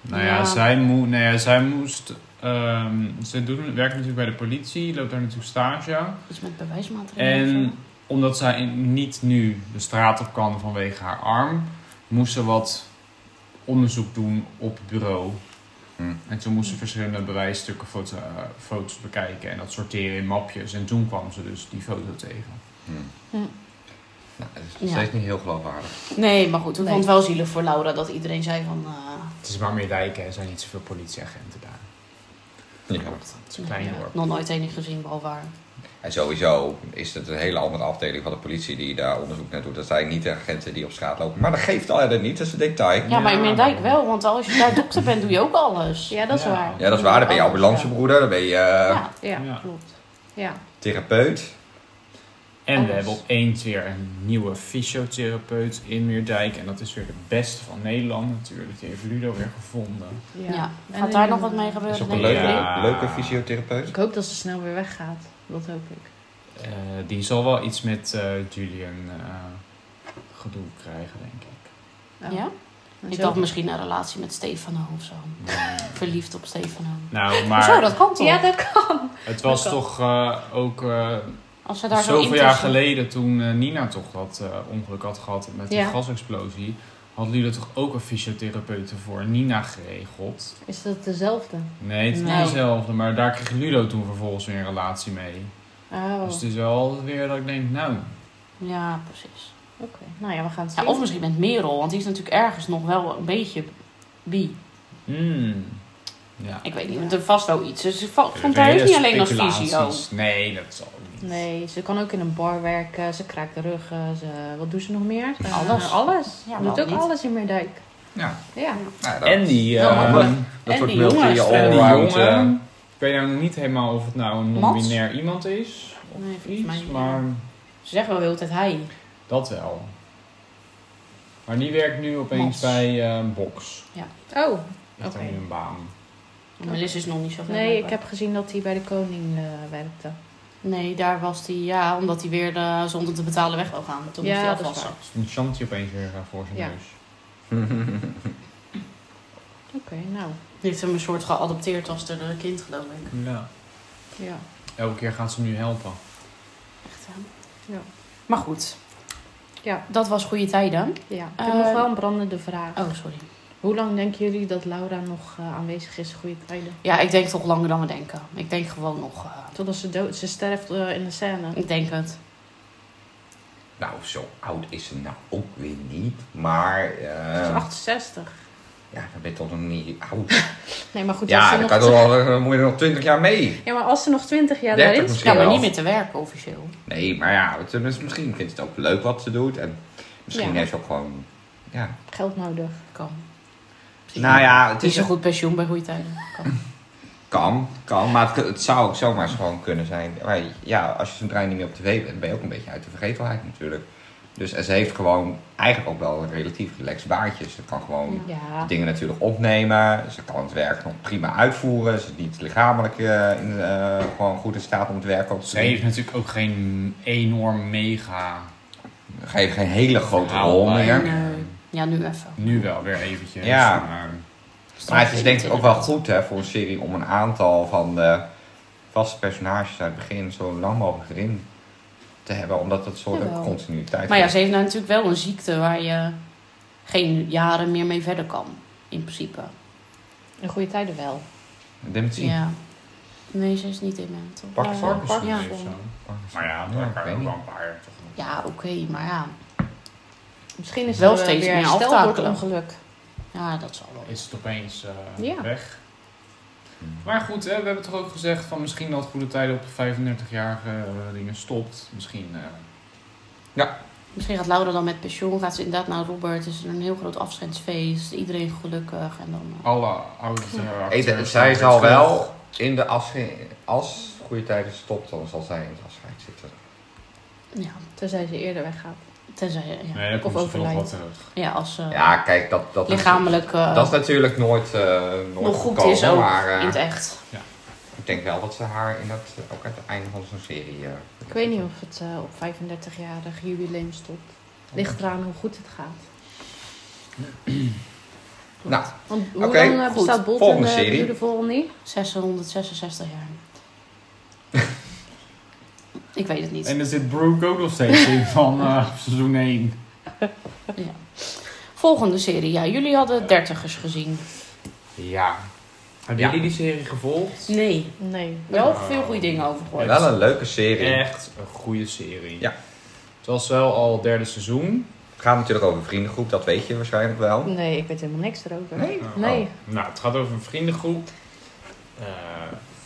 S4: Nou ja,
S1: Ja.
S4: Zij, moe, nou ja zij moest... ehm, ze doen, werkt natuurlijk bij de politie, loopt daar natuurlijk stage.
S1: Iets Dus met bewijsmateriaal. of
S4: En
S1: zo.
S4: omdat zij in- niet nu de straat op kan vanwege haar arm, moest ze wat onderzoek doen op het bureau.
S2: Hm.
S4: En toen moest ze verschillende bewijsstukken, foto, eh, foto's bekijken en dat sorteren in mapjes. En toen kwam ze dus die foto tegen.
S2: Hm.
S1: Hm.
S2: Nou, het is nog
S1: Ja.
S2: steeds niet heel geloofwaardig.
S1: Nee, maar goed, ik
S3: Nee.
S1: vond het wel zielig voor Laura dat iedereen zei van... eh,
S4: Het is maar meer wijken, er zijn niet zoveel politieagenten daar.
S2: Ja.
S4: Het is een klein
S1: ja,
S4: dorp.
S1: Nog nooit enig gezien, behalve haar.
S2: En sowieso is het een hele andere afdeling van de politie die daar onderzoek naar doet. Dat zijn niet de agenten die op straat lopen. Maar dat geeft al dat niet, dat is een detail.
S1: Ja, maar in
S4: Ja,
S1: Meerdijk
S4: maar-
S1: wel, want als je daar dokter bent, doe je ook alles.
S3: Ja, dat is
S4: Ja.
S3: waar.
S2: Ja, dat is waar. Dan ben je ambulancebroeder, dan ben je eh,
S1: Ja,
S3: Ja,
S4: Ja.
S3: klopt. Ja.
S2: therapeut.
S4: En we
S1: Alles.
S4: hebben opeens weer een nieuwe fysiotherapeut in Meerdijk. En dat is weer de beste van Nederland natuurlijk. Die heeft Ludo weer gevonden.
S1: ja.
S3: En
S1: Gaat daar
S3: in-
S1: nog wat mee gebeuren?
S2: Is ook een
S1: denk
S2: leuke,
S1: ik?
S4: Ja.
S2: leuke fysiotherapeut.
S3: Ik hoop dat ze snel weer weggaat. Dat hoop ik.
S4: Eh, die zal wel iets met eh, Julian eh, gedoe krijgen, denk ik.
S3: Oh.
S1: Ja?
S3: En
S1: Ik
S3: zo-
S1: dacht misschien een relatie met Stefano of zo. Verliefd op Stefano.
S4: Nou,
S1: Zo,
S4: maar
S1: dat kan toch?
S3: Ja, dat kan.
S4: het was
S3: dat kan.
S4: toch eh, ook eh,
S1: Als ze daar zo
S4: zoveel
S1: intussen-
S4: jaar geleden toen eh, Nina toch dat eh, ongeluk had gehad met die
S3: Ja.
S4: gasexplosie. Had Ludo toch ook een fysiotherapeut voor Nina geregeld?
S3: Is dat dezelfde?
S4: Nee, het is
S1: Nee.
S4: niet dezelfde, maar daar kreeg Ludo toen vervolgens weer een relatie mee.
S3: Oh,
S4: Dus het
S3: oké.
S4: is wel weer dat ik denk, nou,
S1: Ja, precies.
S3: Nou ja, we gaan het
S1: Ja,
S3: zien.
S1: of misschien met Merel, want die is natuurlijk ergens nog wel een beetje bi.
S4: hmm. Ja.
S1: Ik weet niet, want er vast wel iets. Dus ik va- vond
S4: Hele
S1: haar heus niet alleen als fysio.
S4: speculaties. Nee, dat zal ook niet.
S3: Nee, ze kan ook in een bar werken. Ze kraakt de rug. eh, Ze, wat doet ze nog meer? Eh,
S1: Alles.
S3: alles.
S1: Ja,
S3: Ze doet ook
S1: waarom niet?
S3: alles in Meerdijk.
S4: Ja.
S3: Ja.
S2: Nou, dat,
S4: En die, eh, oh,
S1: Wel makkelijk.
S2: dat
S1: en
S2: wordt
S1: die jongens.
S2: multi
S4: en die
S2: allround.
S4: jongen.
S2: eh,
S4: Ik weet nou niet helemaal of het nou een
S1: Mats?
S4: non-binair iemand is. Of
S1: Nee, volgens
S4: iets,
S1: mij niet.
S4: maar
S1: Ze zeggen wel de hele tijd hij.
S4: dat wel. Maar die werkt nu opeens
S1: Mats.
S4: bij eh Box.
S3: Oh,
S4: Heeft daar
S3: Oké.
S4: nu een baan.
S1: Melis is nog niet zo ver
S3: nee, ik
S1: over.
S3: heb gezien dat hij bij de koning eh, werkte.
S1: Nee, daar was hij, ja, omdat hij weer eh, zonder te betalen weg wil gaan. Toen
S3: Ja,
S1: moest hij
S3: dat is
S1: afwassen.
S4: Dus een Shanti opeens weer eh, voor zijn
S3: Ja.
S4: neus.
S3: Oké, nou.
S1: Die heeft hem een soort geadopteerd als er een kind, geloof ik.
S4: Ja.
S3: Ja.
S4: Elke keer gaan ze hem nu helpen.
S1: Echt, hè?
S3: Ja.
S1: Maar goed,
S3: Ja,
S1: dat was goede tijden.
S3: ja. Ik
S1: Eh,
S3: heb nog wel een brandende vraag.
S1: Oh, sorry.
S3: Hoe lang denken jullie dat Laura nog eh, aanwezig is? Goede tijden.
S1: Ja, ik denk toch langer dan we denken. Ik denk gewoon nog. eh,
S3: Totdat ze dood, ze sterft eh, in de scène.
S1: ik denk het.
S2: nou, zo oud is ze nou ook weer niet. Maar
S3: Ze is
S2: eh
S3: 68.
S2: ja, dan ben je toch nog niet oud.
S3: Nee, maar goed. als
S2: Ja,
S3: ze
S2: dan,
S3: nog,
S2: kan toch wel, dan moet je er nog 20 jaar mee.
S3: ja, maar als ze nog 20 jaar
S2: 30
S3: daarin
S2: misschien
S1: Ja, maar
S2: wel.
S1: niet meer te werken officieel.
S2: Nee, maar ja, het, is- misschien vindt ze het ook leuk wat ze doet. En misschien
S3: Ja.
S2: heeft ze ook gewoon... Ja.
S3: staat, geld nodig.
S1: Kan.
S2: Nou ja, het
S1: Het is
S2: is
S1: een goed pensioen bij goede tijden. Kan.
S2: Kan, kan. Maar het, het zou ook zomaar gewoon kunnen zijn. Maar ja, als je zo'n trein niet meer op tv bent, ben je ook een beetje uit de vergetelheid natuurlijk. Dus en ze heeft gewoon eigenlijk ook wel een relatief relaxed baantje. Ze kan gewoon
S3: Ja.
S2: dingen natuurlijk opnemen. Ze kan het werk nog prima uitvoeren. Ze is niet lichamelijk eh, in, eh, gewoon goed in staat om het werk ook
S4: Ze
S2: te
S4: heeft
S2: doen.
S4: natuurlijk ook geen enorm mega...
S2: Ze heeft geen hele grote
S4: verhaal
S2: rol
S4: bij.
S2: meer.
S1: Nee. Ja, nu even.
S4: Nu wel weer eventjes.
S2: Ja.
S4: Maar, eh,
S2: Maar het is denk ik ook wel goed hè, voor een serie om een aantal van de vaste personages uit het begin zo lang mogelijk erin te hebben. Omdat dat soort
S1: Jawel.
S2: continuïteit
S1: Maar ja,
S2: geeft.
S1: ze heeft nou natuurlijk wel een ziekte waar je geen jaren meer mee verder kan. In principe.
S3: In goede tijden wel.
S2: Dementie.
S1: Ja. Nee, ze is niet dement. hoor.
S2: Parkinson.
S3: Ja, Parkinson.
S1: Oh, Ja.
S4: heeft ze.
S2: Parkinson.
S4: Maar ja,
S2: Ja,
S4: daar
S2: ik
S4: kan
S2: weet
S4: je ook
S2: niet.
S4: wel een paar jaar toch nog.
S1: Ja, oké, maar ja.
S3: Misschien is
S1: Wel
S3: het eh,
S1: steeds
S3: weer
S1: meer
S3: herstel door het
S1: aftakelen.
S3: ongeluk.
S1: Ja, dat zal wel.
S4: is het opeens eh,
S3: Ja.
S4: weg. Maar goed, hè, we hebben toch ook gezegd van misschien dat Goede Tijden op 35-jarige eh, dingen stopt. Misschien eh,
S1: Misschien gaat Laura dan met pensioen. Gaat ze inderdaad naar Robert. Is er een heel groot afscheidsfeest. Iedereen gelukkig. En dan... eh,
S4: alle oude eh,
S2: Ik denk-
S4: acteurs
S2: zij
S4: weer
S2: zal
S4: terug.
S2: wel in de afscheid, als goede tijden stopt, dan zal zij in het afscheid zitten. Oh.
S1: ja,
S3: Tenzij ze eerder weggaat.
S1: tenzij... Ja,
S4: Nee, daar komt
S3: Of
S4: ze toch nog wat
S3: overlijdt.
S4: terug.
S1: ja als ze
S2: Ja, kijk, dat, dat,
S1: lichamelijk eh,
S2: is, dat is natuurlijk nooit, eh, nooit
S1: nog goed
S2: gekomen,
S1: is ook.
S2: Maar eh,
S1: in het echt.
S2: ik denk wel dat ze haar in dat, ook aan het einde van zo'n serie... eh,
S3: Ik weet niet of het eh, op 35-jarig jubileum stopt. Ligt eraan hoe goed het gaat.
S2: Nou,
S3: Want hoe
S2: Oké,
S3: lang eh,
S1: goed.
S3: bestaat Bolton
S2: Volgende
S3: eh,
S2: serie.
S3: Beautiful Only?
S1: 666 jaar. Ik weet het niet.
S4: eh. En er zit Brooke ook nog steeds in van eh, seizoen 1.
S1: Volgende serie. Ja, jullie hadden dertigers gezien.
S4: Ja, Hebben
S2: Ja.
S4: jullie die serie gevolgd?
S1: Nee.
S3: Nee.
S1: Wel veel goede dingen over gehoord.
S2: Wel een leuke serie.
S4: Echt een goede serie.
S2: Ja.
S4: Het was wel al het derde seizoen.
S2: Het gaat natuurlijk over een vriendengroep, dat weet je waarschijnlijk wel.
S3: Nee, ik weet helemaal niks erover.
S2: Nee?
S3: Nee.
S4: Nou, het gaat over een vriendengroep eh,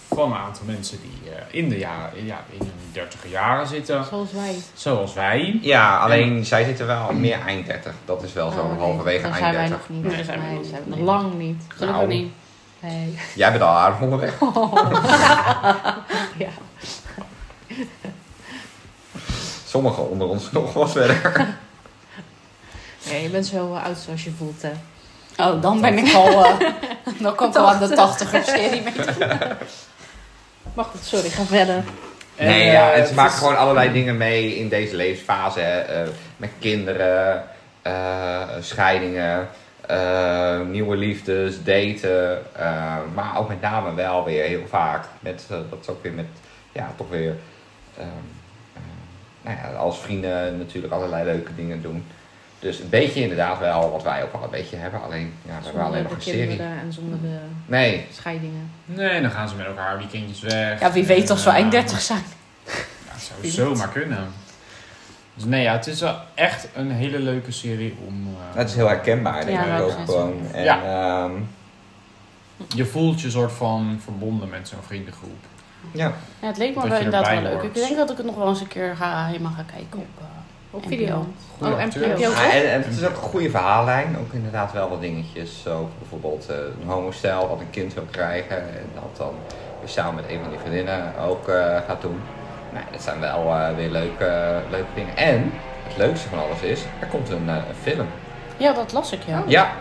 S4: van een aantal mensen die eh, in de jaren, ja, in hun dertiger jaren
S2: Oh.
S4: zitten.
S3: Zoals wij.
S4: Zoals wij.
S2: Ja, alleen zij zitten wel meer eind 30. Dat is wel zo
S3: Oh, nee.
S2: halverwege
S3: Dan
S2: eind
S3: zijn
S2: 30.
S3: wij nog niet.
S4: Nee, zijn we
S3: Nee,
S4: nog
S3: zijn we
S1: niet.
S3: nog lang niet.
S1: Gelukkig
S2: Nou.
S1: niet.
S3: Nee.
S2: Jij bent al aardig onderweg.
S1: Ah.
S3: Ja.
S2: Sommigen onder ons nog wat verder.
S3: Nee, je bent zo eh, oud zoals je voelt, hè.
S1: Oh, dan ben ik al... eh, dan kan ik al aan de tachtigers serie mee.
S3: Maar goed, sorry, ga verder.
S4: En,
S2: nee, ja,
S4: eh,
S2: en ze maken
S4: is-
S2: gewoon allerlei dingen mee in deze levensfase. hè. Eh, met kinderen, eh, scheidingen, eh, nieuwe liefdes, daten. eh, maar ook met name wel weer heel vaak. Met, eh, dat is ook weer met, ja, toch weer... ehm, eh, nou ja, als vrienden natuurlijk allerlei leuke dingen doen. Dus een beetje inderdaad wel wat wij ook wel een beetje hebben. Alleen, ja, we hebben alleen nog
S3: de
S2: een serie.
S3: kinderen en zonder de
S2: Nee,
S3: scheidingen.
S4: Nee, dan gaan ze met elkaar weekendjes weg.
S1: Ja, wie weet als we
S4: En, eh,
S1: eind dertig zijn.
S4: Ja, het zou
S1: Wie
S4: zomaar kunnen. Dus nee, ja, het is wel echt een hele leuke serie om... eh,
S2: dat is heel herkenbaar denk
S3: Ja,
S2: ik
S3: dat
S2: ook
S3: is-
S2: gewoon. En,
S4: Ja.
S2: ehm,
S4: Je voelt je soort van verbonden met zo'n vriendengroep.
S2: ja.
S1: Ja, het leek me
S4: Dat
S1: wel
S4: je
S1: inderdaad wel
S4: erbij
S1: leuk. Ik
S4: hoort.
S1: denk dat ik het nog wel eens een keer ga, helemaal ga kijken op... eh,
S3: Op
S1: video.
S3: video.
S4: Goeie
S3: Oh, en
S4: acteurs.
S3: heb je ook-
S2: Ja, en, en het is ook een goede verhaallijn. Ook inderdaad wel wat dingetjes. Zo bijvoorbeeld eh, een homostel wat een kind wil krijgen. En dat dan weer samen met een van die vriendinnen ook eh, gaat doen. Nee, dat zijn wel eh, weer leuke, leuke dingen. En het leukste van alles is, er komt een, eh, een film.
S1: Ja, dat las ik,
S3: Oh.
S1: ja.
S2: Ja.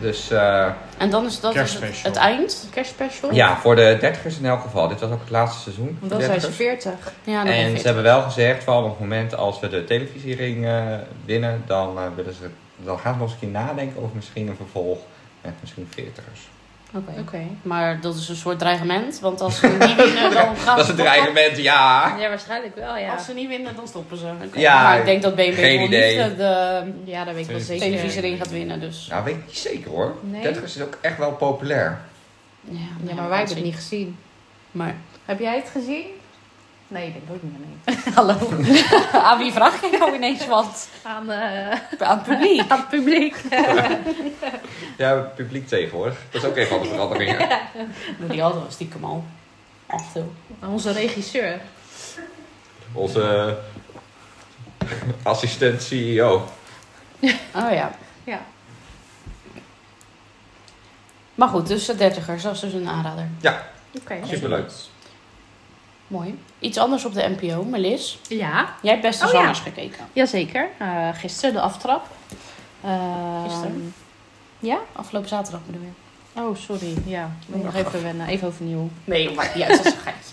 S2: Dus eh,
S1: En dan is dat dus het,
S4: Kerstspecial.
S1: het eind. Oh.
S3: Kerstspecial.
S2: ja, voor de dertigers in elk geval. Dit was ook het laatste seizoen.
S3: Want dan
S2: de
S3: zijn ze
S2: dertigers.
S3: 40.
S1: Ja, dan
S2: En ze hebben wel gezegd, van op het moment als we de televisiering eh, winnen, dan, eh, willen ze, dan gaan ze nog eens een keer nadenken over misschien een vervolg met misschien veertigers.
S1: Oké.
S3: Oké.
S1: Maar dat is een soort dreigement, want als ze niet winnen, dan gaan
S2: Dat is
S1: ze
S2: het
S1: stoppen.
S2: dreigement, ja.
S3: Ja, waarschijnlijk wel, ja.
S1: Als ze niet winnen, dan stoppen ze. Oké.
S2: Ja,
S1: maar ik denk dat BNB
S2: geen
S1: wel niet
S2: idee.
S1: eh, de
S3: Ja, dat weet ik wel
S4: Televisie.
S3: zeker.
S1: televisiering gaat winnen, dus...
S2: Nou, weet ik niet zeker hoor.
S3: Nee.
S2: Dertigers is ook echt wel populair.
S3: Ja, maar wij hebben het niet gezien.
S1: Maar,
S3: Heb jij het gezien? Nee, ik denk ook niet meer nee.
S1: hallo. Aan wie vraag je nou ineens wat?
S3: Aan, eh,
S1: Aan het publiek.
S3: aan het publiek.
S2: Ja, publiek tegenwoordig. Dat is ook even wat veranderingen.
S1: Maar Die hadden we stiekem al. Echt heel.
S3: Aan onze regisseur.
S2: Onze eh, assistent CEO.
S1: Oh ja.
S3: Ja.
S1: Maar goed, dus de dertigers, dat is dus een aanrader.
S3: Oké.
S2: Superleuk.
S1: Mooi. Iets anders op de NPO, Melis.
S3: Ja,
S1: Jij hebt beste
S3: Oh ja.
S1: zangers gekeken.
S3: jazeker. Eh gisteren de aftrap. Eh,
S1: Gisteren?
S3: Ja?
S1: Afgelopen zaterdag bedoel je.
S3: Oh, sorry. Ja, moet nog even wennen. Even overnieuw.
S1: Nee, maar ja, dat is een geit.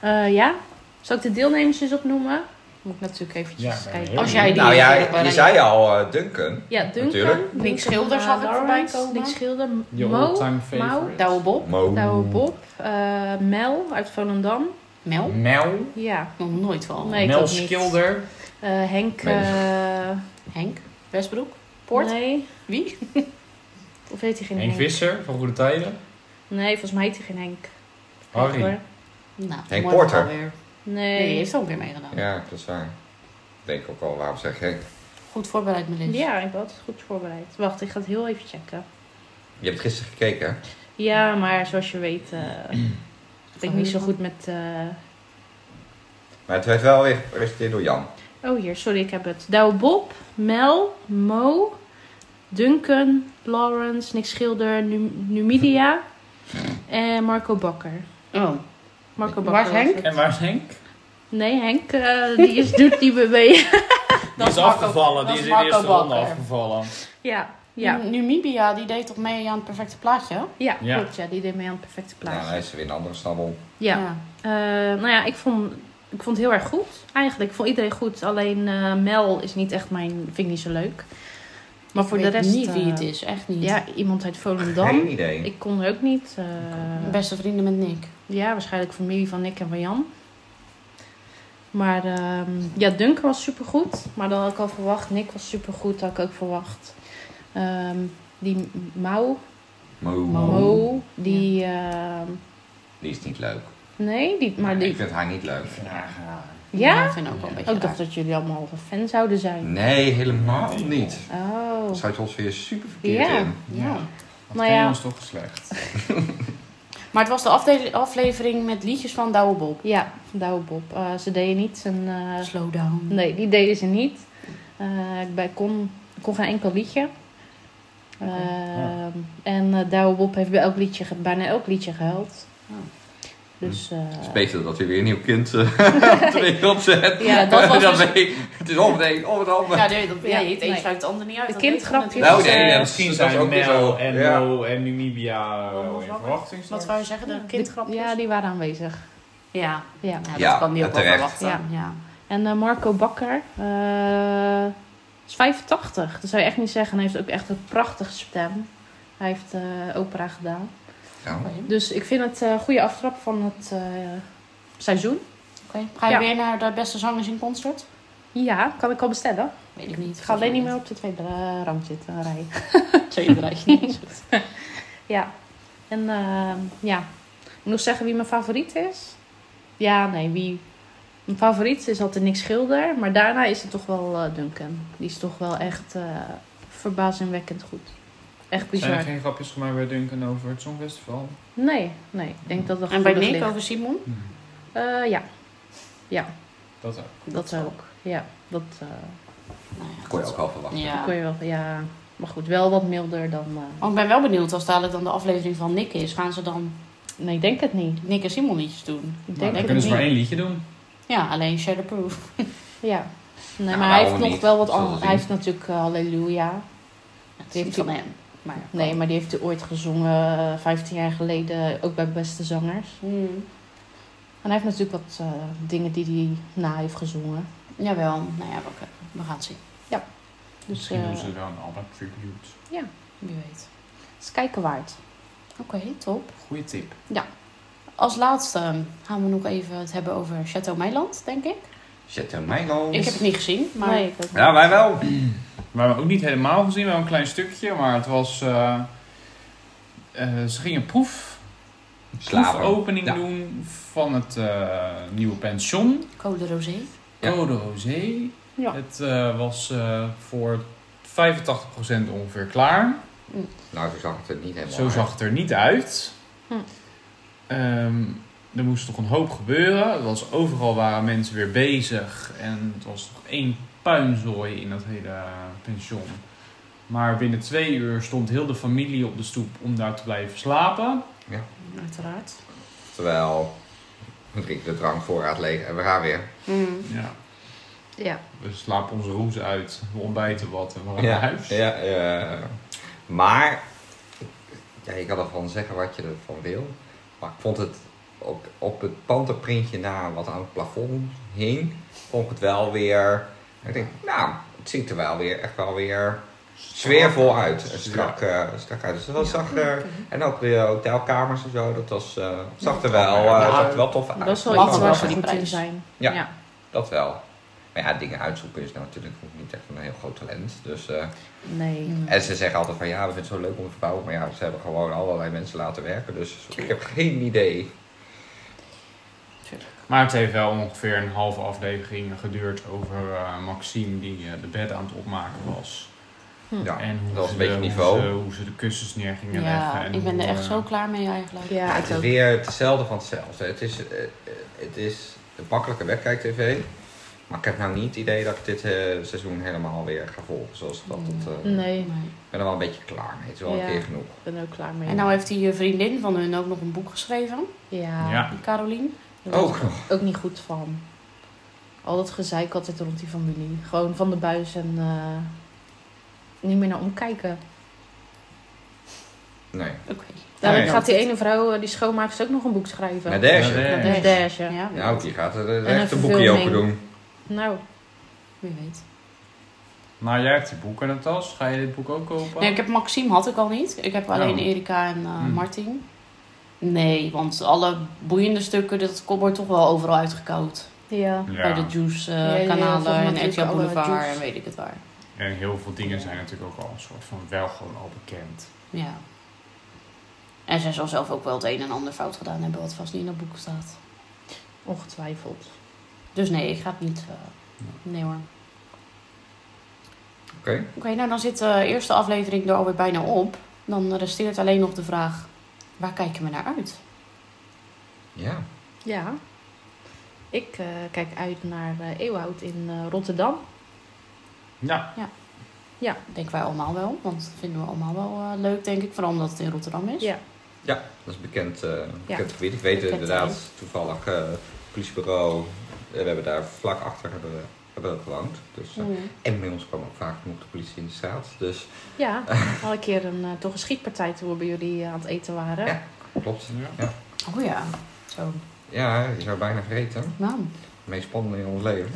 S3: Eh, ja? Zal ik de deelnemers eens opnoemen? Moet ik natuurlijk
S4: Ja,
S3: eventjes
S4: ben
S3: kijken.
S4: heel
S1: Als jij die
S2: Nou ja,
S1: eh,
S2: je zei al eh, Duncan.
S3: Ja, Duncan.
S2: Natuurlijk.
S3: Duncan,
S1: Nick Schilder
S3: eh,
S1: zag ik voorbij
S3: Lawrence,
S1: komen.
S3: Nick Schilder,
S4: Je
S3: Mo,
S4: all-time
S3: Mau,
S4: favorite.
S1: Douwe Nou, Bob,
S2: Mo.
S3: Douwe Bob, eh, Mel uit Volendam.
S1: Mel.
S4: Mel.
S3: Ja,
S1: Nog nooit van.
S3: Nee, ik
S4: Mel
S3: ook niet.
S4: Schilder.
S3: Eh, Henk...
S2: Nee.
S3: eh,
S1: Henk Westbroek. Poort.
S3: Nee,
S1: Wie?
S3: of heet hij geen
S4: Henk
S3: Henk?
S4: Visser van Goede Tijden.
S3: Nee, volgens mij heet hij geen Henk.
S4: Harry.
S3: Hoor.
S1: Nou,
S2: Henk
S1: mooi
S2: Porter.
S1: alweer. Nee, die
S3: Nee.
S1: heeft ook weer meegedaan.
S2: Ja, dat is waar. Ik denk ook al, waarom zeg ik?
S1: Goed voorbereid, Melis.
S3: Ja,
S4: Dus-
S3: ik ben altijd goed voorbereid. Wacht, ik ga het heel even checken.
S2: Je hebt gisteren gekeken, hè?
S3: Ja, maar zoals je weet eh, ben ik niet zo goed met... eh,
S2: Maar het werd wel weer gepresenteerd door Jan.
S3: Oh, hier, sorry, ik heb het. Douwe Bob, Mel, Mo, Duncan, Lawrence, Nick Schilder, Nu- Numidia en Marco Bakker.
S1: Oh,
S3: Marco Bakker.
S1: Waar is
S3: was
S1: Henk?
S3: het.
S4: En waar is Henk?
S3: Nee, Henk, eh, die is, doet die weer mee.
S4: Die is
S1: Marco-
S4: afgevallen.
S1: dat
S4: Die is in de
S1: Marco
S4: eerste ronde
S1: Bakker.
S4: afgevallen.
S3: ja, ja,
S1: Nu- Numibia, die deed toch mee aan het perfecte plaatje?
S3: ja,
S4: Ja.
S3: klopt. Ja, die deed mee aan het perfecte
S2: Nou,
S3: plaatje.
S2: hij is weer een andere snabbel.
S3: Ja, Eh, nou ja, ik vond, ik vond het heel erg goed. Eigenlijk, ik vond iedereen goed. Alleen eh, Mel is niet echt mijn, vind ik niet zo leuk. Maar voor
S1: Ik
S3: de
S1: weet
S3: rest...
S1: niet wie
S3: eh,
S1: het is, echt niet.
S3: Ja, iemand uit Volendam.
S2: Geen idee.
S3: Ik kon er ook niet. eh,
S1: Beste vrienden met Nick.
S3: ja, waarschijnlijk familie van Nick en van Jan. Maar ehm, ja, Duncan was supergoed. Maar dat had ik al verwacht. Nick was supergoed, dat had ik ook verwacht. Ehm, die Mau,
S2: Moe.
S3: Mo, die... ehm,
S2: Die is niet leuk.
S3: nee, die, maar
S2: Ik
S3: die...
S2: vind haar niet leuk.
S3: Ja?
S1: Ik vind ik ook wel een beetje
S3: Oh, ik dacht
S1: raar.
S3: dat jullie allemaal halve fan zouden zijn.
S2: Nee, helemaal niet.
S3: Oh.
S2: Zuidholz weer super verkeerd
S3: Ja.
S2: in.
S3: Ja. Nou
S4: Nou
S3: ja.
S4: ja. is toch slecht.
S1: Maar het was de afdele- aflevering met liedjes van Douwe Bob.
S3: Ja, Douwe Bob. Eh, ze deden niet zijn... eh,
S1: Slow down.
S3: nee, die deden ze niet. Eh, ik bij- kon, kon geen enkel liedje. Ehm, En eh, Douwe Bob heeft bij elk liedje, ge- bijna elk liedje gehuild.
S1: Oh.
S3: Dus... eh,
S2: Het is beter dat hij weer een nieuw kind eh, op de wereld zet.
S1: Ja, dat was
S2: Dan
S1: dus-
S2: ben je- Het is of het een, of het ander.
S1: Ja, nee, dat,
S3: Ja,
S1: nee, het een
S3: nee.
S1: sluit het ander niet uit.
S3: De
S1: dat weet ik
S3: kindgrapjes.
S1: natuurlijk.
S2: Nou, nee, nee,
S4: Eh,
S2: dat-
S4: misschien
S2: dat
S4: zijn
S2: is ook weer zo.
S4: Mel en
S2: Ja.
S4: Mo en Namibia Oh, wel in verwachting.
S1: Wat wou je zeggen? De kindgrapjes?
S3: Ja, die waren aanwezig.
S1: ja.
S3: Ja.
S1: Ja, dat
S2: Ja,
S1: kan die ook wel
S2: terecht.
S1: verwachten.
S3: Ja.
S1: Ja.
S3: En eh, Marco Bakker eh, is 85. Dat zou je echt niet zeggen. Hij heeft ook echt een prachtige stem. Hij heeft eh, opera gedaan.
S2: Ja.
S3: Dus ik vind het een goede aftrap van het eh, seizoen.
S1: Oké. Ga je
S3: Ja.
S1: weer naar de beste zangers in concert?
S3: Ja, kan ik al bestellen.
S1: Weet ik niet.
S3: Ik ga alleen niet meer op de tweede eh, rang zitten rijden.
S1: Tweede rijtje niet.
S3: Ja. En eh, ja. Ik moet nog zeggen wie mijn favoriet is. Ja, nee, wie... Mijn favoriet is altijd Nick Schilder. Maar daarna is het toch wel eh, Duncan. Die is toch wel echt eh, verbazingwekkend goed. Echt
S4: Zijn er
S3: bizar.
S4: geen grapjes gemaakt bij Duncan over het Songfestival?
S3: Nee, nee. Ik denk dat dat
S1: En bij
S3: gevoelig
S1: Nick
S3: ligt.
S1: over Simon?
S2: Hm.
S3: Eh, ja,
S4: Dat ook.
S3: dat ook. Ja, dat eh,
S1: Nou ja,
S2: Kon je ook wel verwachten.
S1: Ja.
S3: kon je wel... Ja, maar goed. Wel wat milder dan... eh,
S1: Want ik ben wel benieuwd, als dadelijk dan de aflevering van Nick is, gaan ze dan
S3: nee, ik denk het niet.
S1: Nick en Simon liedjes doen?
S3: Ik
S4: Maar
S3: denk
S4: dan
S3: het
S4: kunnen ze maar
S3: niet.
S4: één liedje doen.
S1: Ja, alleen Shadowproof.
S3: Ja. Nee,
S2: Nou,
S3: maar hij heeft
S2: waarom
S3: nog
S2: niet?
S3: wel wat
S2: Zullen we
S3: anders.
S2: zien.
S3: Hij heeft natuurlijk eh, Halleluja.
S1: Het
S3: Die
S1: is
S3: heeft
S1: niet
S3: die-
S1: van hem. Maar,
S3: Nee, maar die heeft hij ooit gezongen, eh, 15 jaar geleden, ook bij Beste Zangers.
S1: Hmm.
S3: En hij heeft natuurlijk wat eh, dingen die hij na heeft gezongen.
S1: Jawel, nou ja, we, we gaan het zien.
S3: Dus
S4: Misschien
S3: eh,
S4: doen ze wel een ABBA tribute.
S1: Wie weet.
S3: is kijken waard.
S1: Oké, top.
S4: Goeie tip.
S1: Als laatste gaan we nog even het hebben over Chateau Meiland, denk ik.
S2: Chateau Meinl.
S1: Ik heb het niet gezien, maar
S3: nee, ik ook niet.
S2: Ja, wij wel.
S4: We hebben ook niet helemaal gezien, wel een klein stukje, maar het was. eh, eh, ze gingen proef,
S2: Slapen.
S4: proefopening
S2: Ja.
S4: doen van het eh, nieuwe pension.
S1: Code Rosé.
S2: Ja.
S4: Code Rosé.
S3: Ja.
S4: Het eh, was eh, voor 85% ongeveer klaar.
S2: Nou, zo zag het er niet helemaal
S4: Zo
S2: uit.
S4: zag het er niet uit.
S3: Hm.
S4: Ehm, er moest toch een hoop gebeuren. Er was, overal waren mensen weer bezig. En het was toch één puinzooi in dat hele eh, pension. Maar binnen twee uur stond heel de familie op de stoep om daar te blijven slapen.
S1: Uiteraard.
S2: Terwijl we drinken de drankvoorraad leeg en we gaan weer.
S3: Mm.
S4: Ja.
S3: Ja.
S4: We slapen onze roes uit, we ontbijten wat en we gaan
S2: Ja,
S4: naar huis.
S2: ja, eh, maar ja, je kan ervan zeggen wat je ervan wil. Maar ik vond het op, op het panterprintje na wat aan het plafond hing, vond ik het wel weer. Ik denk, nou, het ziet er wel weer echt wel weer sfeervol uit. En Strak, eh, strak uit. Dus dat zag er, en ook de hotelkamers en zo, dat was, eh, zag er wel, eh,
S4: Ja.
S2: zag er wel tof uit.
S3: Dat is wel
S1: Mag
S3: iets
S1: ook
S3: waar
S1: wel
S3: ze
S1: voor die
S3: goed in
S1: prijs.
S3: zijn.
S2: Ja. Dat wel. Maar ja, dingen uitzoeken is nou natuurlijk ook niet echt een heel groot talent. Dus, eh,
S3: Nee.
S2: en ze zeggen altijd van ja, we vinden het zo leuk om te verbouwen. Maar ja, ze hebben gewoon allerlei mensen laten werken. Dus ik heb geen idee.
S4: Maar het heeft wel ongeveer een halve aflevering geduurd over eh, Maxime die eh, de bed aan het opmaken was.
S3: Hm.
S2: Ja,
S4: En hoe
S2: dat was
S4: ze
S2: een beetje
S4: de-
S2: niveau.
S4: Hoe ze, hoe ze de kussens neer gingen leggen.
S1: Ja,
S4: en
S1: ik ben
S4: hoe,
S1: er echt
S4: eh,
S1: zo klaar mee eigenlijk.
S3: Ja,
S2: het
S3: ik
S2: is
S3: ook.
S2: weer hetzelfde van hetzelfde. Het is, eh, eh, het is een makkelijke wegkijk-tv. Maar ik heb nou niet het idee dat ik dit eh, seizoen helemaal weer ga volgen. Zoals dat het, eh,
S3: Nee,
S1: Nee.
S2: Ik ben er wel een beetje klaar mee. Het is wel
S3: Ja.
S2: een keer genoeg.
S3: ik ben er ook klaar mee.
S1: En nou heeft die eh, vriendin van hun ook nog een boek geschreven,
S3: ja,
S4: Ja.
S1: Caroline. Daar werd
S2: Ook nog.
S3: ook niet goed van. Al dat gezeik altijd rond die familie. Gewoon van de buis en eh, niet meer naar omkijken.
S2: Nee.
S1: Oké.
S3: Daar
S4: Nee.
S3: gaat die ene vrouw, eh, die schoonmaakster, ook nog een boek schrijven.
S2: Naar Dash.
S4: Naar
S3: Dat is Dash, ja.
S1: Ja, wie,
S2: Nou,
S1: weet.
S2: die gaat er eh,
S3: En een
S2: echt een boekje
S3: verfilming.
S2: open doen.
S3: Nou,
S1: wie weet.
S4: Nou, jij hebt die boek in de tas. Ga je dit boek ook kopen?
S1: Nee, ik heb Maxime had ik al niet. Ik heb alleen
S4: Oh.
S1: Erika en eh,
S4: Hmm.
S1: Martin. Nee, want alle boeiende stukken, dat wordt toch wel overal uitgekoud.
S3: ja.
S4: Ja.
S1: Bij de
S3: Ja, ja,
S1: Juice-kanalen
S3: van
S1: en
S3: natuurlijk
S1: RTL
S3: alle
S1: Boulevard
S3: Juice.
S1: en weet ik het waar.
S4: En heel veel dingen zijn natuurlijk ook al een soort van wel gewoon al bekend.
S1: Ja. En zij zal zelf ook wel het een en ander fout gedaan hebben, wat vast niet in dat boek staat.
S3: Ongetwijfeld.
S1: Dus nee, ik ga het niet. eh, nee hoor.
S2: Oké.
S1: Oké, nou dan zit de eerste aflevering er alweer bijna op. Dan resteert alleen nog de vraag: waar kijken we naar uit?
S2: Ja.
S3: Ja. Ik eh, kijk uit naar eh Eeuwhout in eh, Rotterdam.
S4: Ja,
S1: Denken wij allemaal wel, want dat vinden we allemaal wel eh, leuk, denk ik. Vooral omdat het in Rotterdam is.
S3: Ja.
S2: Ja, dat is een bekend, eh, bekend gebied. Ik weet het
S3: Bekend
S2: inderdaad
S3: terrein.
S2: toevallig eh, politiebureau. eh, we hebben daar vlak achter hebben, we- hebben we gewoond. Dus, eh,
S1: Mm.
S2: en bij ons kwam ook vaak genoeg de politie in de straat. Dus
S3: Ja, al een keer een, eh, toch een schietpartij toen we bij jullie eh, aan het eten waren.
S2: Ja. klopt.
S4: Ja.
S2: Ja.
S1: Oh ja, zo.
S2: Ja, je zou bijna vergeten.
S1: Nou.
S2: Het meest spannende in ons leven.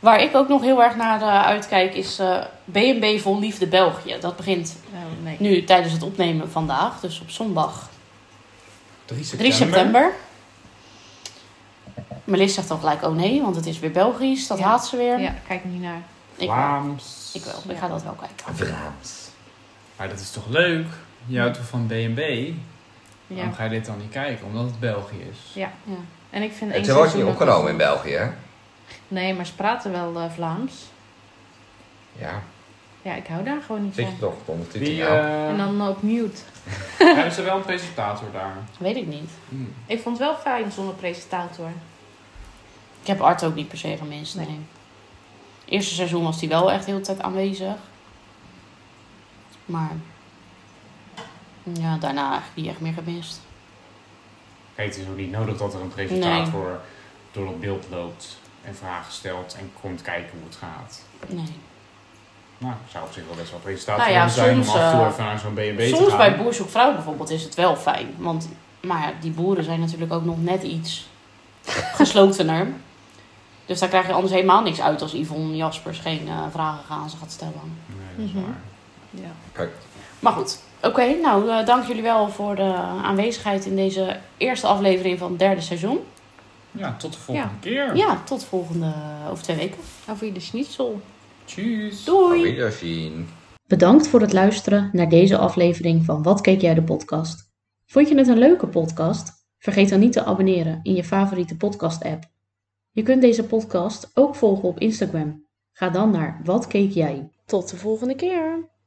S1: Waar ik ook nog heel erg naar eh, uitkijk is eh, B&B Vol Liefde België. Dat begint
S3: Oh, nee.
S1: nu tijdens het opnemen vandaag, dus op zondag
S4: 3
S1: 3
S4: september.
S1: september. Melis zegt dan gelijk, oh nee, want het is weer Belgisch. Dat
S3: Ja.
S1: haat ze weer.
S3: Ja, kijk niet naar.
S1: Ik, wel.
S4: Vlaams.
S1: ik wel. Ik ga dat wel kijken.
S2: Vlaams.
S4: Maar dat is toch leuk? Je houdt toch van B&B? Waarom
S3: Ja.
S2: Oh.
S4: ga je dit dan niet kijken? Omdat het België is.
S3: Ja.
S1: Ja.
S3: En ik vind één
S2: Het wordt niet
S3: seizoen ook
S2: opgenomen
S3: wel-
S2: in België, hè?
S3: Nee, maar ze praten wel eh, Vlaams.
S2: Ja,
S3: Ja, ik hou daar gewoon niet
S2: zit je nou?
S3: van.
S2: toch op de ondertiteling
S4: Wie,
S2: aan?
S4: eh,
S3: En dan op mute.
S4: hebben ze wel een presentator daar?
S1: Weet ik niet.
S4: Hmm.
S3: Ik vond het wel fijn zonder presentator.
S1: Ik heb Art ook niet per se gemist, nee. Eerste seizoen was hij wel echt heel de tijd aanwezig. Maar ja, daarna eigenlijk niet echt meer gemist.
S4: Kijk, het is ook niet nodig dat er een presentator door het beeld loopt en vragen stelt en komt kijken hoe het gaat.
S1: Nee.
S4: Nou, ik zou op zich wel best wel presentator
S1: Nou ja,
S4: willen zijn
S1: soms,
S4: om af en toe
S1: eh,
S4: even naar zo'n B&B te gaan.
S1: Soms bij Boer zoekt vrouw bijvoorbeeld is het wel fijn. Want maar ja, die boeren zijn natuurlijk ook nog net iets geslotener. Dus daar krijg je anders helemaal niks uit als Yvonne Jaspers geen eh, vragen gaan ze gaat stellen.
S4: Nee, dat is
S3: Mhm.
S4: waar.
S3: Ja.
S2: Kijk,
S1: Maar goed, oké. nou, eh, dank jullie wel voor de aanwezigheid in deze eerste aflevering van het derde seizoen.
S4: Ja, tot de volgende keer.
S1: Ja, tot volgende over twee weken.
S3: Over de schnitzel.
S4: Tjus.
S1: Doei!
S2: op wiederzien.
S5: Bedankt voor het luisteren naar deze aflevering van Wat keek jij de podcast? Vond je het een leuke podcast? Vergeet dan niet te abonneren in je favoriete podcast app. Je kunt deze podcast ook volgen op Instagram. Ga dan naar Wat keek jij? Tot de volgende keer!